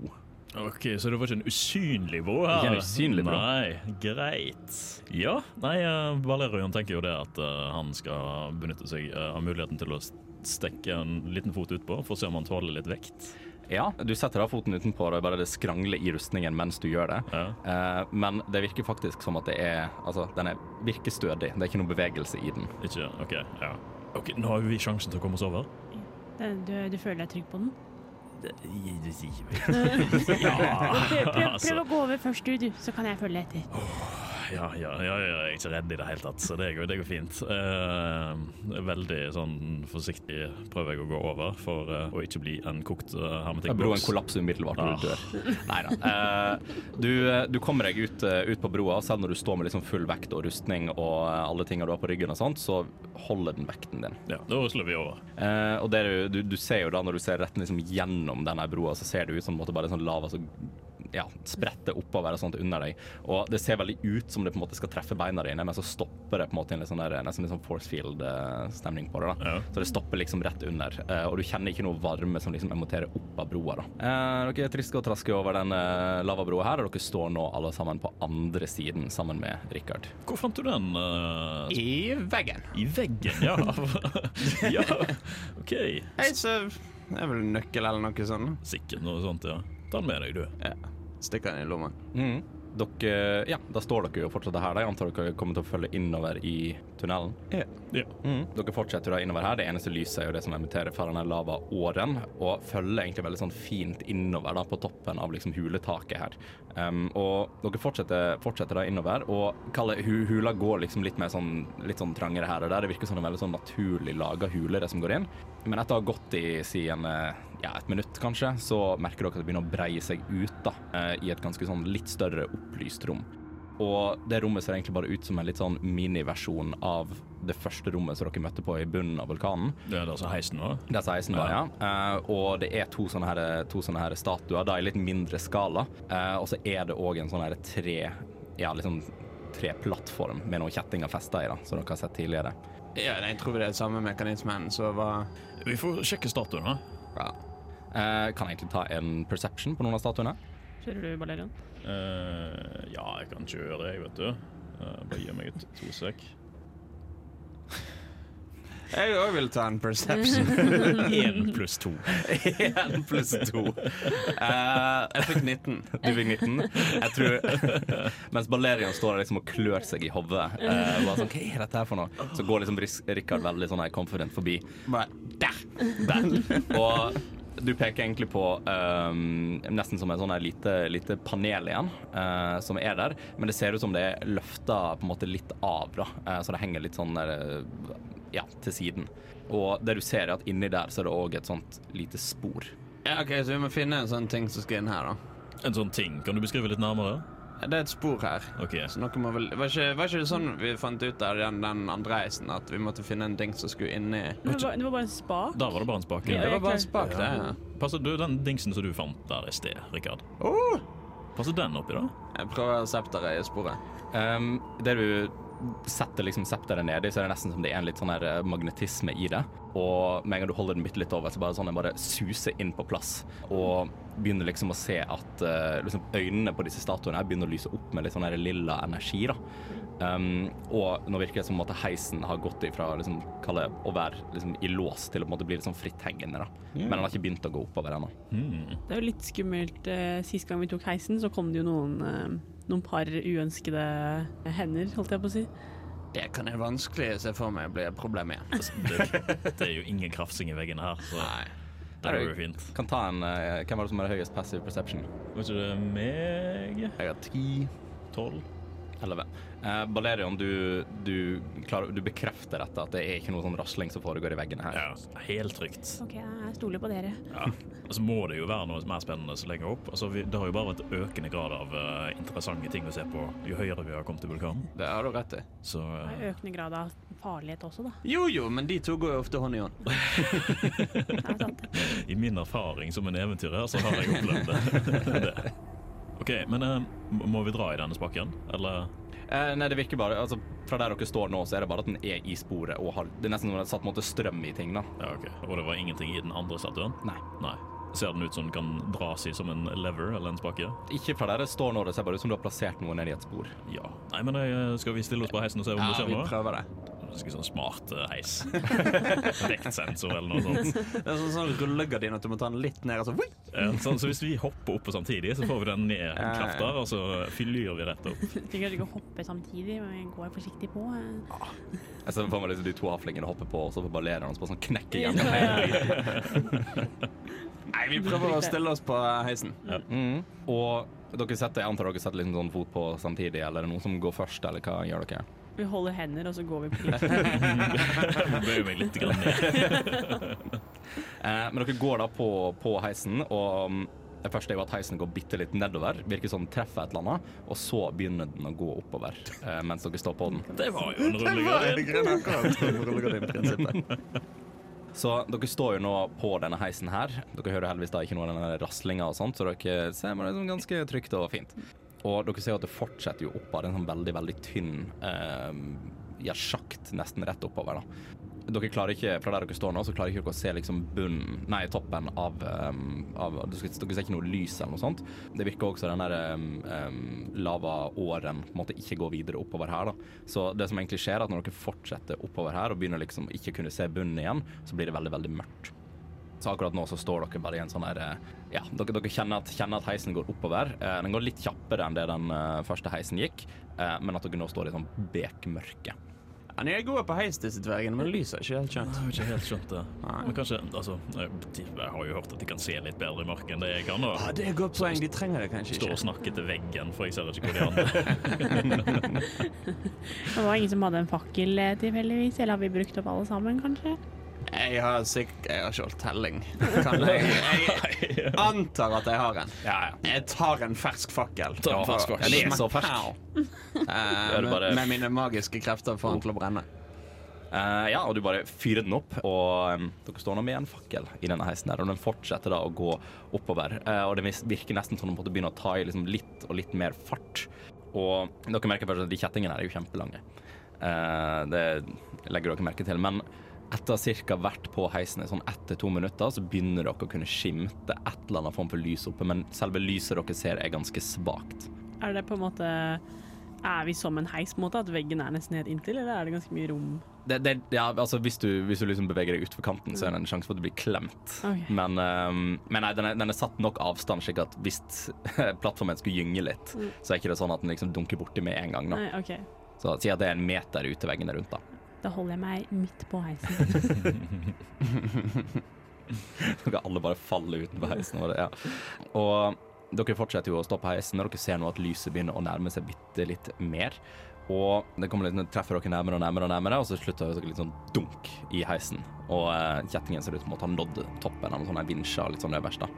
OK, så det var ikke en usynlig bro her? Ikke en usynlig bro. Nei, greit. Ja, nei, eh, Valerian tenker jo det at eh, han skal benytte seg eh, av muligheten til å s- stikke en liten fot utpå for å se om han tåler litt vekt. Ja, du setter da foten utenpå og det er bare det skrangler i rustningen mens du gjør det. Ja. Eh, men det virker faktisk som at det er Altså, den er, virker stødig. Det er ikke noe bevegelse i den. Ikke OK, ja. Ok, Nå har jo vi sjansen til å komme oss over. Den- Eh, Du, du føler deg trygg på den? Ja, Prøv, prøv, prøv altså. å gå over først, du, du, så kan jeg følge etter. ja, ja, ja, jeg er ikke redd i det hele tatt, så det går, det går fint. Eh, veldig sånn forsiktig prøver jeg å gå over for eh, å ikke bli en kokt eh, Broen hermetikkboks. kollapser umiddelbart når du Ah. dør. Nei da. du, du kommer deg ut, eh, ut på broa, selv når du står med liksom full vekt og rustning og eh, alle tinga du har på ryggen og sånt, så holder den vekten din. Ja, da slår vi over. Eh, og det er jo- du, du ser jo da, når du ser rett liksom gjennom denne broa, så ser det ut som på en måte bare sånn lava som ja, spretter oppover og sånt under deg. Og det ser veldig ut som det på en måte skal treffe beina dine, men så stopper det på en måte i en litt sånn der, nesten litt sånn force field-stemning på det. da. Ja. Så det stopper liksom rett under, eh, og du kjenner ikke noe varme som liksom emitterer opp av broa. da. Eh, dere trisker og trasker over den eh, lavabroa her, og dere står nå alle sammen på andre siden sammen med Richard. Hvor fant du den? eh, I veggen. I veggen, ja. ja, OK. Hei, så Det er vel en nøkkel eller noe sånn, sånt. Sikkert noe sånt, ja. Ta den med deg, du. Ja. Stikker den i lomma. Mm. Dere, ja, da står dere jo fortsatt her. da. Jeg antar dere kommer til å følge innover i tunnelen. Ja. Dere fortsetter da innover her. Det eneste lyset er jo det som emitterer fra denne lavaåren, og følger egentlig veldig sånn fint innover da, på toppen av liksom huletaket her. Um, og dere fortsetter, fortsetter da innover, og kaller, hu, hula går liksom litt mer sånn, litt sånn trangere her og der. Det virker som en veldig sånn naturlig laga hule, det som går inn. Men etter å ha gått i si en, eh, ja, et minutt, kanskje, så merker dere at det begynner å breie seg ut da, eh, i et ganske sånn litt større opplyst rom. Og det rommet ser egentlig bare ut som en litt sånn miniversjon av det første rommet som dere møtte på i bunnen av vulkanen. Det er der som heisen var. Det er 16 da, ja. Eh, og det er to sånne, her, to sånne her statuer, da i litt mindre skala. Eh, og så er det òg en sånn her tre Ja, liksom treplattform med noen kjettinger festa i, da, som dere har sett tidligere. Ja, nei, jeg tror det er samme mekanismen, så hva Vi får sjekke statuen, da. Eh, kan jeg egentlig ta en perception på noen av statuene? Kjører du, Valerian? Eh, ja, jeg kan ikke gjøre det, jeg, vet du. Eh, bare gi meg et to sek. Jeg òg vil ta en perception. Én pluss to. Én pluss to. Jeg fikk 19. Du fikk 19. Jeg tror Mens Balerian står der liksom og klør seg i hodet, eh, bare sånn, hva er dette her for noe? Så går liksom Ris- Rikard veldig sånn her confident forbi. Bare der! Og du peker egentlig på ehm, nesten som en sånn her lite, lite panel igjen, eh, som er der. Men det ser ut som det er løfta på en måte litt av, da. Eh, så det henger litt sånn der, eh, ja, til siden. Og det du ser, er at inni der så er det òg et sånt lite spor. Ja, ok, Så vi må finne en sånn ting som skal inn her, da. En sånn ting. Kan du beskrive litt nærmere? Ja, Det er et spor her. OK. Så noe må vel Var ikke, var ikke det sånn vi fant ut av den, den andre reisen, at vi måtte finne en ting som skulle inn i Det var, det var bare en spa. Der var det bare en spake. Ja, Det var jeg bare er en spak der, ja. Passer du den dingsen som du fant der i sted, Rikard? Oh! Passer den oppi, da? Jeg prøver septeret i sporet. Um, der du setter liksom septeret nedi, så er det nesten som det er en litt sånn her eh, magnetisme i det. Og med en gang du holder den bitte litt over, så bare sånn den bare suser inn på plass. Og begynner liksom å se at eh, liksom øynene på disse statuene her begynner å lyse opp med litt sånn her lilla energi, da. Um, og nå virker det som at heisen har gått ifra liksom, kalle, å være liksom, i lås til å på en måte bli litt sånn fritthengende, da. Men den har ikke begynt å gå oppover ennå. Hmm. Det er jo litt skummelt. eh, Sist gang vi tok heisen, så kom det jo noen, eh, noen par uønskede hender, holdt jeg på å si. Det kan jeg vanskelig se for meg blir et problem igjen. Altså, Det er jo ingen krafsing i veggene her, så det Her er går jo- jo fint. Kan ta en eh, Hvem var det som hadde høyest passive perception? Var ikke det meg? Jeg har ti. Tolv? Elleve. Eh, Balerion, du, du, klarer, du bekrefter dette, at det er ikke noe sånn rasling som foregår i veggene her. Ja, helt trygt. OK, jeg stoler på dere. Ja. Og så må det jo være noe mer spennende som legger opp. Altså, vi, det har jo bare vært økende grad av eh, interessante ting å se på jo høyere vi har kommet til vulkanen. Det har du rett i. Så Det eh, er økende grad av farlighet også, da. Jo jo, men de to går jo ofte hånd i hånd. Det er sant. i min erfaring som en eventyrer, så har jeg opplevd det. det. OK, men eh, må- må vi dra i denne spakken, eller? Eh, nei, det virker bare altså, Fra der dere står nå, så er det bare at den er i sporet og har Det er nesten som om det er satt på en måte strøm i ting, da. Ja, ok. Og det var ingenting i den andre statuen? Nei. Nei. Ser den ut som den kan dras i som en lever eller en spake? Ikke fra der det står nå, det ser bare ut som du har plassert noe ned i et spor. Ja. Nei, men eh, skal vi stille oss på heisen og se om Ja, det skjer vi noe? prøver det. Ganske sånn smart eh, heis. Vektsensor eller noe sånt. Det er sånn, sånn rullegardin at du må ta den litt ned. altså, og så wui! Ja, Sånn, så hvis vi hopper opp på samtidig, så får vi den ned ja. kraft der, og så fyller vi rett opp. Jeg tenker ikke å hoppe samtidig, men går forsiktig på. eh. Ah, Jeg ser for meg liksom de to haflingene hopper på, og så får Balerion bare sånn knekke igjen. Nei, vi prøver å stille oss på eh, heisen. Mm. Og dere setter, jeg antar dere setter liksom sånn fot på samtidig, eller er det noen som går først, eller hva gjør dere? Vi holder hender, og så går vi på litt. Bøyer meg litt grann ned. Eh, men dere går da på, på heisen, og mm, det første er jo at heisen går bitte litt nedover, virker som den treffer et eller annet, og så begynner den å gå oppover eh, mens dere står på den. Det var jo en rullegardin. Rullegardinprinsippet. Så dere står jo nå på denne heisen her. Dere hører heldigvis da ikke noe av denne raslinga og sånt, så dere ser bare sånn ganske trygt og fint. Og dere ser jo at det fortsetter jo oppover en sånn veldig, veldig tynn eh, ja, sjakt nesten rett oppover, da. Dere klarer ikke, fra der dere står nå, så klarer ikke dere å se liksom bunnen, nei, toppen av, eh, av dere, dere ser ikke noe lys eller noe sånt. Det virker også den der um, lavaåren på en måte ikke går videre oppover her, da. Så det som egentlig skjer, er at når dere fortsetter oppover her og begynner liksom ikke kunne se bunnen igjen, så blir det veldig, veldig mørkt. Så akkurat nå så står dere bare i en sånn her eh, Ja, dere, dere kjenner, at, kjenner at heisen går oppover. Eh, Den går litt kjappere enn det den eh, første heisen gikk, eh, men at dere nå står i sånn bekmørke. Han er god på heis, disse dvergene, men lyset er ikke Jeg helt skjønt. har ikke helt skjønt det. Men kanskje, altså, de- jeg har jo hørt at de kan se litt bedre i mørket enn det jeg kan. Ja, Og det er et godt poeng. De trenger det kanskje står og ikke. snakker til veggen, for jeg ser ikke hvor de andre Det var ingen som hadde en fakkel eh, tilfeldigvis, eller har vi brukt opp alle sammen, kanskje? Jeg har sikkert Jeg har ikke holdt telling. Kan jeg, jeg antar at jeg har en. Jeg tar en fersk fakkel. Ta en fersk fakkel. For- Den er så fersk. Pow. Eh, Ja, du bare- Med mine magiske krefter får den til å brenne. Eh, ja, og du bare fyrer den opp, og em, dere står nå med en fakkel i denne heisen der, og den fortsetter da å gå oppover, eh, og det vis- virker nesten som den måtte begynne å ta i liksom litt og litt mer fart, og dere merker først at de kjettingene her er jo kjempelange. Eh, det legger dere merke til, men etter cirka hvert på heisen, i sånn ett til to minutter, så begynner dere å kunne skimte et eller annet form for lys oppe, men selve lyset dere ser er ganske svagt. Er det på en måte Er vi som en heis, på en måte? At veggen er nesten helt inntil, eller er det ganske mye rom? Det, det, ja, altså hvis du, hvis du liksom beveger deg utfor kanten, så er det en sjanse for at du blir klemt. Ok. Men, ehm, men nei, den er, den er satt nok avstand, slik at hvis plattformen skulle gynge litt, så er ikke det sånn at den liksom dunker borti med en gang. Da. Mm. Nei, OK. Så si at det er en meter ut til veggene rundt, da. Da holder jeg meg midt på heisen. Så kan alle bare falle utenfor heisen. Og, det, ja. og dere fortsetter jo å stå på heisen, og dere ser nå at lyset begynner å nærme seg bitte litt mer. Og det kommer litt, det treffer dere nærmere og nærmere, og nærmere, og så slutter dere litt sånn dunk i heisen. Og eh, kjettingen ser ut som at han nådde toppen av en sånn her vinsja litt sånn øverst. da.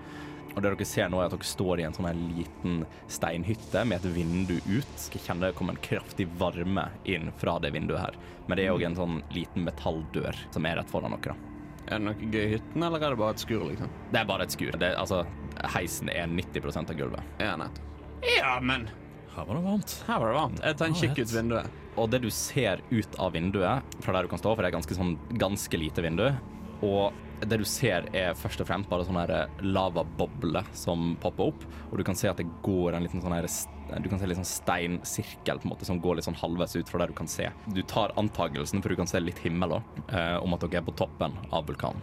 Og det dere ser nå, er at dere står i en sånn her liten steinhytte med et vindu ut. Skal kjenne det kommer en kraftig varme inn fra det vinduet her. Men det er òg en sånn liten metalldør som er rett foran dere. da. Er det noe gøy i hytten, eller er det bare et skur, liksom? Det er bare et skur. Det, altså, heisen er 90 av gulvet. Ja, nei. ja, men Her var det varmt. her var det varmt. Jeg tar en kikk ut vinduet. Og det du ser ut av vinduet, fra der du kan stå, for det er ganske, sånn, ganske lite vindu, og det du ser er først og fremst bare sånne her lavabobler som popper opp, og du kan se at det går en liten sånn her s- du kan se litt sånn steinsirkel på en måte, som går litt sånn halvveis ut fra der du kan se. Du tar antagelsen, for du kan se litt himmel også, eh, om at dere er på toppen av vulkanen.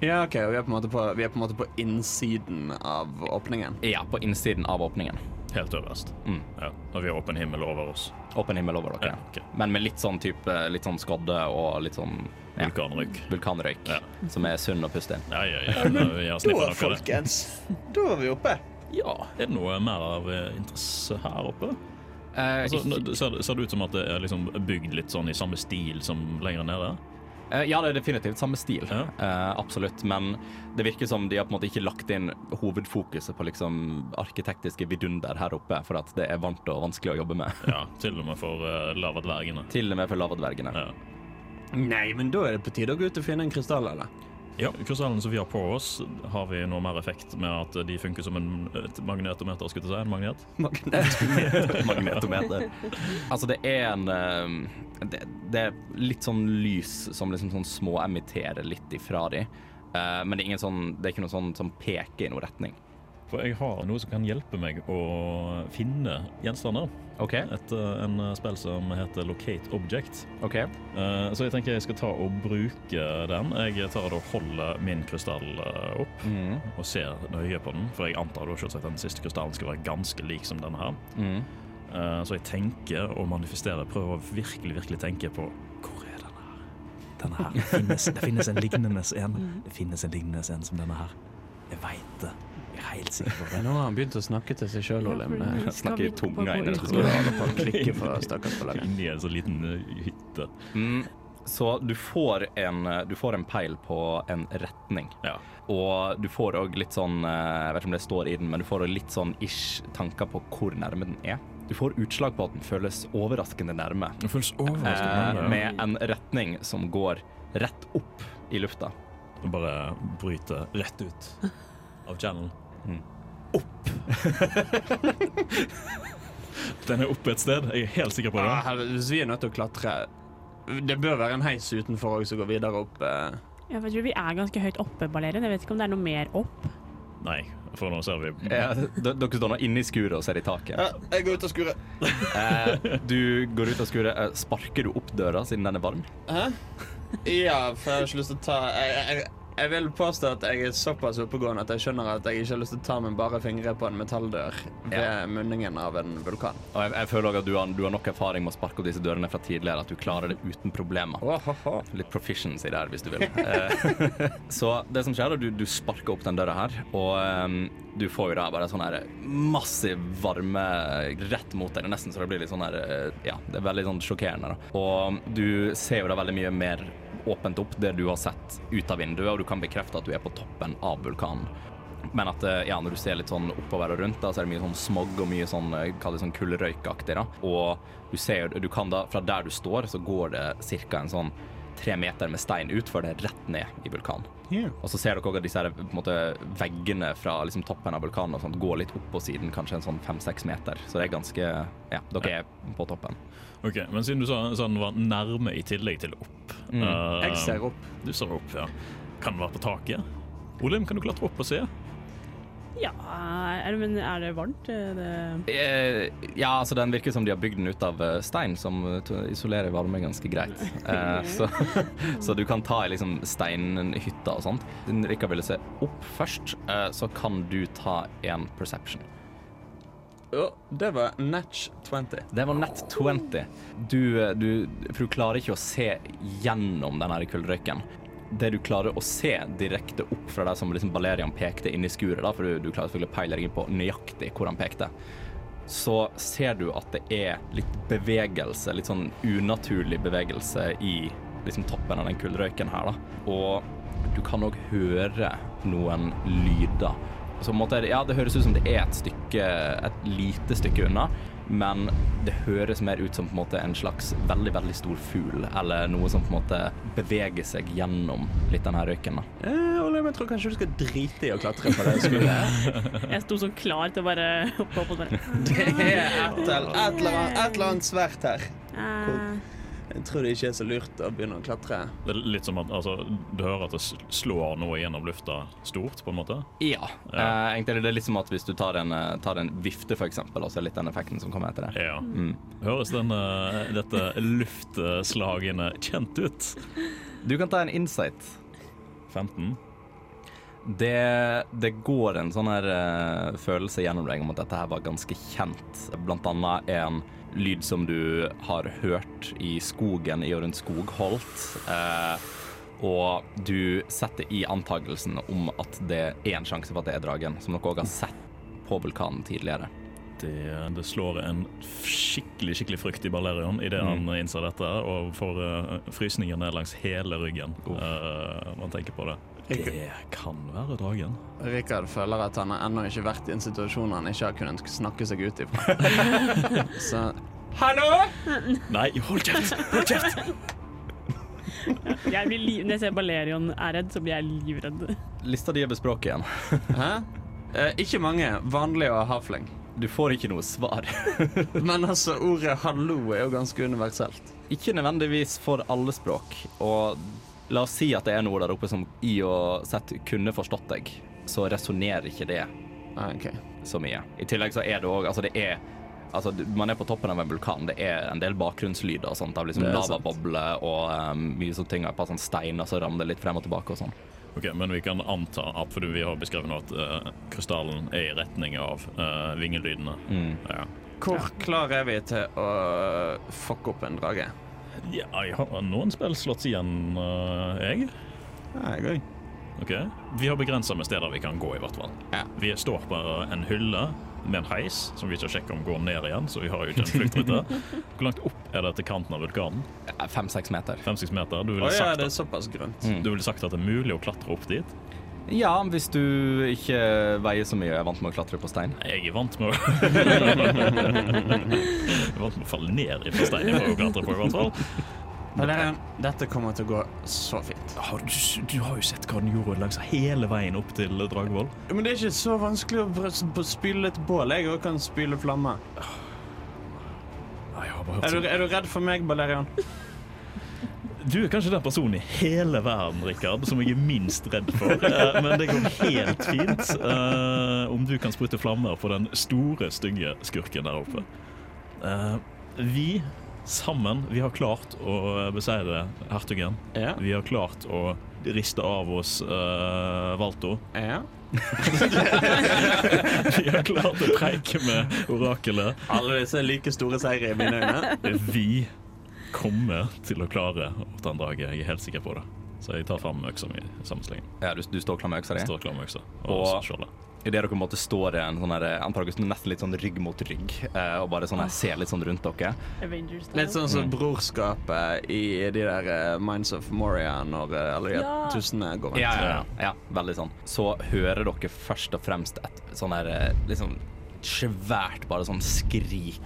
Ja, OK, og vi er på en måte på, vi er på, en måte på innsiden av åpningen. Ja, på innsiden av åpningen. helt øverst. Mm. Ja, og vi har åpen himmel over oss. Åpen himmel over dere. Ja, ok. Men med litt sånn type litt sånn skodde og litt sånn ja, Vulkanrøyk. vulkanrøyk, Ja. som er sunn å puste inn. Ja, ja, ja. Vi har snippet Da, nok av det. folkens, da er vi oppe. Ja, er det noe mer av eh, interesse her oppe? Eh, Altså, ikke- nå- ser, det- ser det ut som at det er liksom bygd litt sånn i samme stil som lenger nede? Eh, Ja, det er definitivt samme stil. Ja. Eh, absolutt. Men det virker som de har på en måte ikke lagt inn hovedfokuset på liksom arkitektiske vidunder her oppe, for at det er varmt og vanskelig å jobbe med. Ja, til og med for uh, lavadvergene. Til og med for lavadvergene. Ja. Nei, men da er det på tide å gå ut og finne en krystall, eller? ja, krystallen som vi har på oss, har vi noe mer effekt med at de funker som en et magnetometer, skulle jeg si. En magnet? Magnetometer. Altså, det er en eh, det, det er litt sånn lys som liksom sånn småemitterer litt ifra de. Eh, men det er, ingen sånn, det er ikke noe sånn som peker i noen retning. For jeg har noe som kan hjelpe meg å finne gjenstander. OK. Et, eh, en eh, spill som heter Locate Object. ok. Eh, så jeg tenker jeg skal ta og bruke den. Jeg tar og holder min krystall eh, opp. Mm. og ser nøye på den, for jeg antar da selvsagt at den siste krystallen skal være ganske lik som denne her. Mm. Eh, Så jeg tenker og manifesterer, prøver å virkelig, virkelig tenke på hvor er denne her? Denne her. Det finnes, det finnes en lignende en. Det finnes en lignende en som denne her. Jeg veit det. Jeg er helt sikker på det. Nå har han begynt å snakke til seg sjøl, Ole. Men jeg snakker i tunga inne, tror det holder på å klikke for stakkars på laget. Inni en sånn liten eh, hytte. Mm. Så du får, en, du får en peil på en retning. Ja. Og du får òg litt sånn eh, Jeg vet ikke om det står i den, men du får også litt sånn ish tanker på hvor nærme den er. Du får utslag på at den føles overraskende nærme, Det føles eh, overraskende. med en retning som går rett opp i lufta. Jeg bare bryter rett ut av channelen. Mm. Opp! Den er oppe et sted. Jeg er helt sikker på det. Ah, her- Hvis vi er nødt til å klatre Det bør være en heis utenfor òg som går videre opp. eh. Ja, for jeg tror vi er ganske høyt oppe, Balerian. Jeg vet ikke om det er noe mer opp. Nei, for nå ser vi Eh, d- dere står nå inne i skuret og ser i taket. Ja, jeg går ut og skurer. Eh, du går ut av skuret. Eh, sparker du opp døra siden den er varm? Hæ? Ja, for jeg har ikke lyst til å ta jeg, jeg, jeg vil påstå at jeg er såpass oppegående at jeg skjønner at jeg ikke har lyst til å ta med bare fingre på en metalldør ved munningen av en vulkan. Og jeg, jeg føler også at du har, du har nok erfaring med å sparke opp disse dørene fra tidligere, at du klarer det uten problemer. Ohoho. Litt proficiency der, hvis du vil. Eh, så det som skjer, er at du, du sparker opp den døra her, og ehm, du får jo da bare sånn her massiv varme rett mot deg. Det er nesten så det blir litt sånn her eh, Ja, det er veldig sånn sjokkerende, da. Og du ser jo da veldig mye mer åpent opp det du har sett ut av vinduet, og du kan bekrefte at du er på toppen av vulkanen. Men at eh, ja, når du ser litt sånn oppover og rundt, da, så er det mye sånn smog og mye sånn, eh, kall det sånn kullrøykaktig. da. Og du ser jo, du kan da, fra der du står, så går det cirka en sånn tre meter med stein ut før det er rett ned i vulkanen. Og så ser dere også at disse her, på en måte, veggene fra liksom, toppen av vulkanen og sånt, går litt opp på siden, kanskje en sånn fem-seks meter. Så det er ganske Ja, dere er på toppen. Ok, Men siden du sa, sa den var nærme i tillegg til opp Mm. eh, Jeg ser opp. Du ser opp, ja. Kan den være på taket? Olim, kan du klatre opp og se? Ja, er det, men er det varmt? Er det Eh, ja, altså den virker som de har bygd den ut av eh, stein, som eh, t- isolerer varme ganske greit. Eh, så, så du kan ta i liksom steinhytta og sånt. Siden Rikard ville se opp først, eh, så kan du ta en perception. Å, det var Natch 20. Det var nett 20. Du, eh, du, for du klarer ikke å se gjennom den her kullrøyken. Det du klarer å se direkte opp fra deg som liksom Balerian pekte inn i skuret, da, for du, du klarer selvfølgelig å peile deg inn på nøyaktig hvor han pekte, så ser du at det er litt bevegelse, litt sånn unaturlig bevegelse i liksom toppen av den kullrøyken her, da. Og du kan òg høre noen lyder. Så på en måte, er det- ja, det høres ut som det er et stykke, et lite stykke unna, men det høres mer ut som på en måte en slags veldig, veldig stor fugl, eller noe som på en måte beveger seg gjennom litt den her røyken, da. Eh, Ole, men jeg tror kanskje du skal drite i å klatre på det skuret. Jeg sto sånn klar til å bare hoppe opp og bare Det er et eller, et eller annet, et eller annet svært her. eh, Jeg tror det ikke er så lurt å begynne å klatre. Det er litt som at altså, Du hører at det s- slår noe gjennom lufta stort, på en måte. Ja. Ja. Eh, egentlig er det litt som at hvis du tar en, eh, tar en vifte, for eksempel, og så er litt den effekten som kommer etter det. Ja. Mm. Høres denne, dette luftslagene kjent ut? Du kan ta en insight. 15. Det, det går en sånn her eh, følelse gjennom deg om at dette her var ganske kjent. Blant annet en lyd som du har hørt i skogen i og rundt Skogholt. eh, og du setter i antagelsen om at det er en sjanse for at det er dragen, som dere òg har sett på vulkanen tidligere. Det, det slår en skikkelig skikkelig frykt i Balerion idet han innser dette, og får eh, frysninger ned langs hele ryggen eh, når han tenker på det. Det kan være dragen. Rikard føler at han har ennå ikke vært i en situasjon han ikke har kunnet snakke seg ut ifra. Så Nei, hold kjeft! Hold kjeft! Jeg blir li Når jeg ser Balerion er redd, så blir jeg livredd. Lista di er bespråket igjen. Hæ? Eh, ikke mange. Vanlig og hafling. Du får ikke noe svar. Men altså, ordet 'hallo' er jo ganske universelt. Ikke nødvendigvis for alle språk, og la oss si at det er noe der oppe som i og sett kunne forstått deg, så resonnerer ikke det Ah, ok. så mye. I tillegg så er det òg Altså, det er Altså, du- man er på toppen av en vulkan. Det er en del bakgrunnslyder og sånt. Av liksom Det er sant. lavabobler og um, mye sånne ting. Og et par sånne steiner som ramler litt frem og tilbake og sånn. Ok, Men vi kan anta at fordi vi har beskrevet nå at eh, krystallen er i retning av eh, vingelydene. Mm. Ja. Hvor klar er vi til å fucke opp en drage? ja, jeg har noen spill slått igjen, eh, jeg. Ja, jeg òg. Ok, Vi har begrensa med steder vi kan gå, i hvert fall. Ja. Vi står på en hylle med en heis som vi ikke sjekker om går ned igjen. så vi har jo ikke en fluktrute. Hvor langt opp er det til kanten av vulkanen? Ja, Eh, Fem-seks meter. 5-6 meter? Du ville, Å ja, sagt det er at, såpass grunt. du ville sagt at det er mulig å klatre opp dit? Ja, hvis du ikke veier så mye og er vant med å klatre på stein. Jeg er vant med å Jeg er vant med å falle ned i steinen for å klatre på, i hvert fall. Valerian, dette kommer til å gå så fint. Har du, s- du har jo sett hva den gjorde langs hele veien opp til Dragvoll. Men det er ikke så vanskelig å br- b- spyle et bål. Jeg òg kan spyle flammer. Nei, Jeg har bare hørt Er du, sånn. er du redd for meg, Valerian? Du er kanskje den personen i hele verden Rikard, som jeg er minst redd for. Eh, Men det går helt fint eh, om du kan sprute flammer på den store, stygge skurken der oppe. Eh, Vi sammen vi har klart å beseire hertugen. Ja. Vi har klart å riste av oss eh, Valto. ja. Vi har klart å preike med orakelet. Alle disse er like store seire i mine øyne. Vi kommer til å klare å ta en drage, jeg er helt sikker på det. Så jeg tar fram øksa mi i samme slengen. Ja, du, du står klar med øksa di? Står klar med øksa Og- og skjoldet. Idet dere på en måte står i en sånn her, antageligvis nesten litt sånn rygg mot rygg, eh, og bare sånn her, ser litt sånn rundt dere. Avengers. Litt sånn som brorskapet i de der eh, Minds of Moria når eh, alle de Ja. tusene går rundt. ja, ja. Veldig sånn. Så hører dere først og fremst et sånn her eh, liksom svært bare sånn skrik.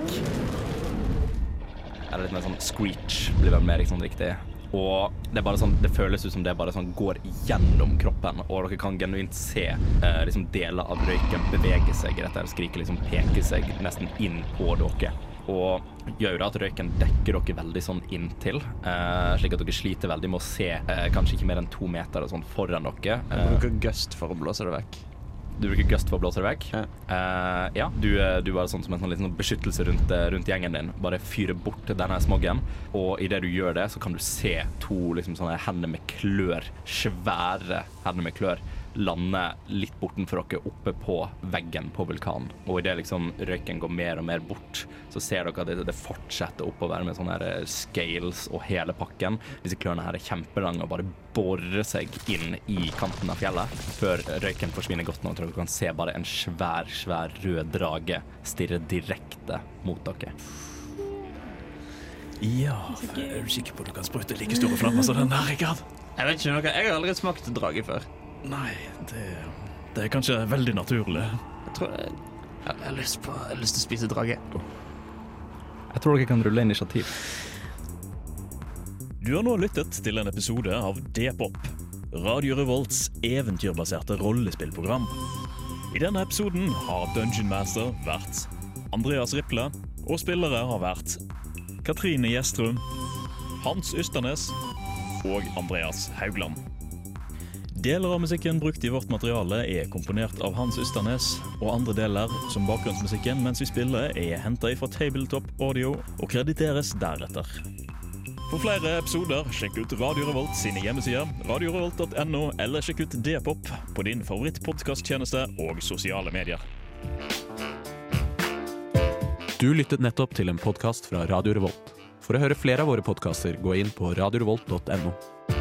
Eller litt mer sånn screech, blir vel mer liksom riktig. Og det er bare sånn, det føles ut som det bare sånn går gjennom kroppen, og dere kan genuint se eh, liksom deler av røyken bevege seg i dette her skriket, liksom peke seg nesten inn på dere. Og gjør jo det at røyken dekker dere veldig sånn inntil, eh, slik at dere sliter veldig med å se eh, kanskje ikke mer enn to meter og sånn foran dere. Eh, Bruker gust for å blåse det vekk. du bruker gust for å blåse det vekk. Ja. Eh, ja. Du, eh, du er sånn som en sånn, liten sånn beskyttelse rundt, eh, rundt gjengen din. Bare fyrer bort denne smoggen, og idet du gjør det, så kan du se to liksom, sånne hender med klør, svære hender med klør, lande litt bortenfor dere oppe på veggen på vulkanen. Og idet liksom, røyken går mer og mer bort, så ser dere at det, det fortsetter oppover med sånne her, eh, scales og hele pakken. Disse klørne her er kjempelange og bare borer seg inn i kanten av fjellet før røyken forsvinner godt nå. Dere kan se bare en svær, svær rød drage stirre direkte mot dere. Ja, er du sikker på at du kan sprute like store flammer som den der, Rikard? Jeg vet ikke noe, jeg har aldri smakt drage før. Nei, det, det er kanskje veldig naturlig. Jeg tror jeg, jeg, har lyst på, jeg har lyst til å spise drage. Jeg tror dere kan rulle initiativ. Du har nå lyttet til en episode av D-pop, Radio Revolts eventyrbaserte rollespillprogram. I denne episoden har Dungeon Master vært Andreas Riple, og spillere har vært Katrine Gjestrum, Hans Ysternes og Andreas Haugland. Deler av musikken brukt i vårt materiale er komponert av Hans Ysternes, og andre deler, som bakgrunnsmusikken mens vi spiller, er henta fra Tabletop Audio og krediteres deretter. For flere episoder, sjekk ut Radio Revolt sine hjemmesider, radiorevolt.no, eller sjekk ut D-pop på din favorittpodkasttjeneste og sosiale medier. Du lyttet nettopp til en podkast fra Radio Revolt. For å høre flere av våre podkaster, gå inn på radiorevolt.no.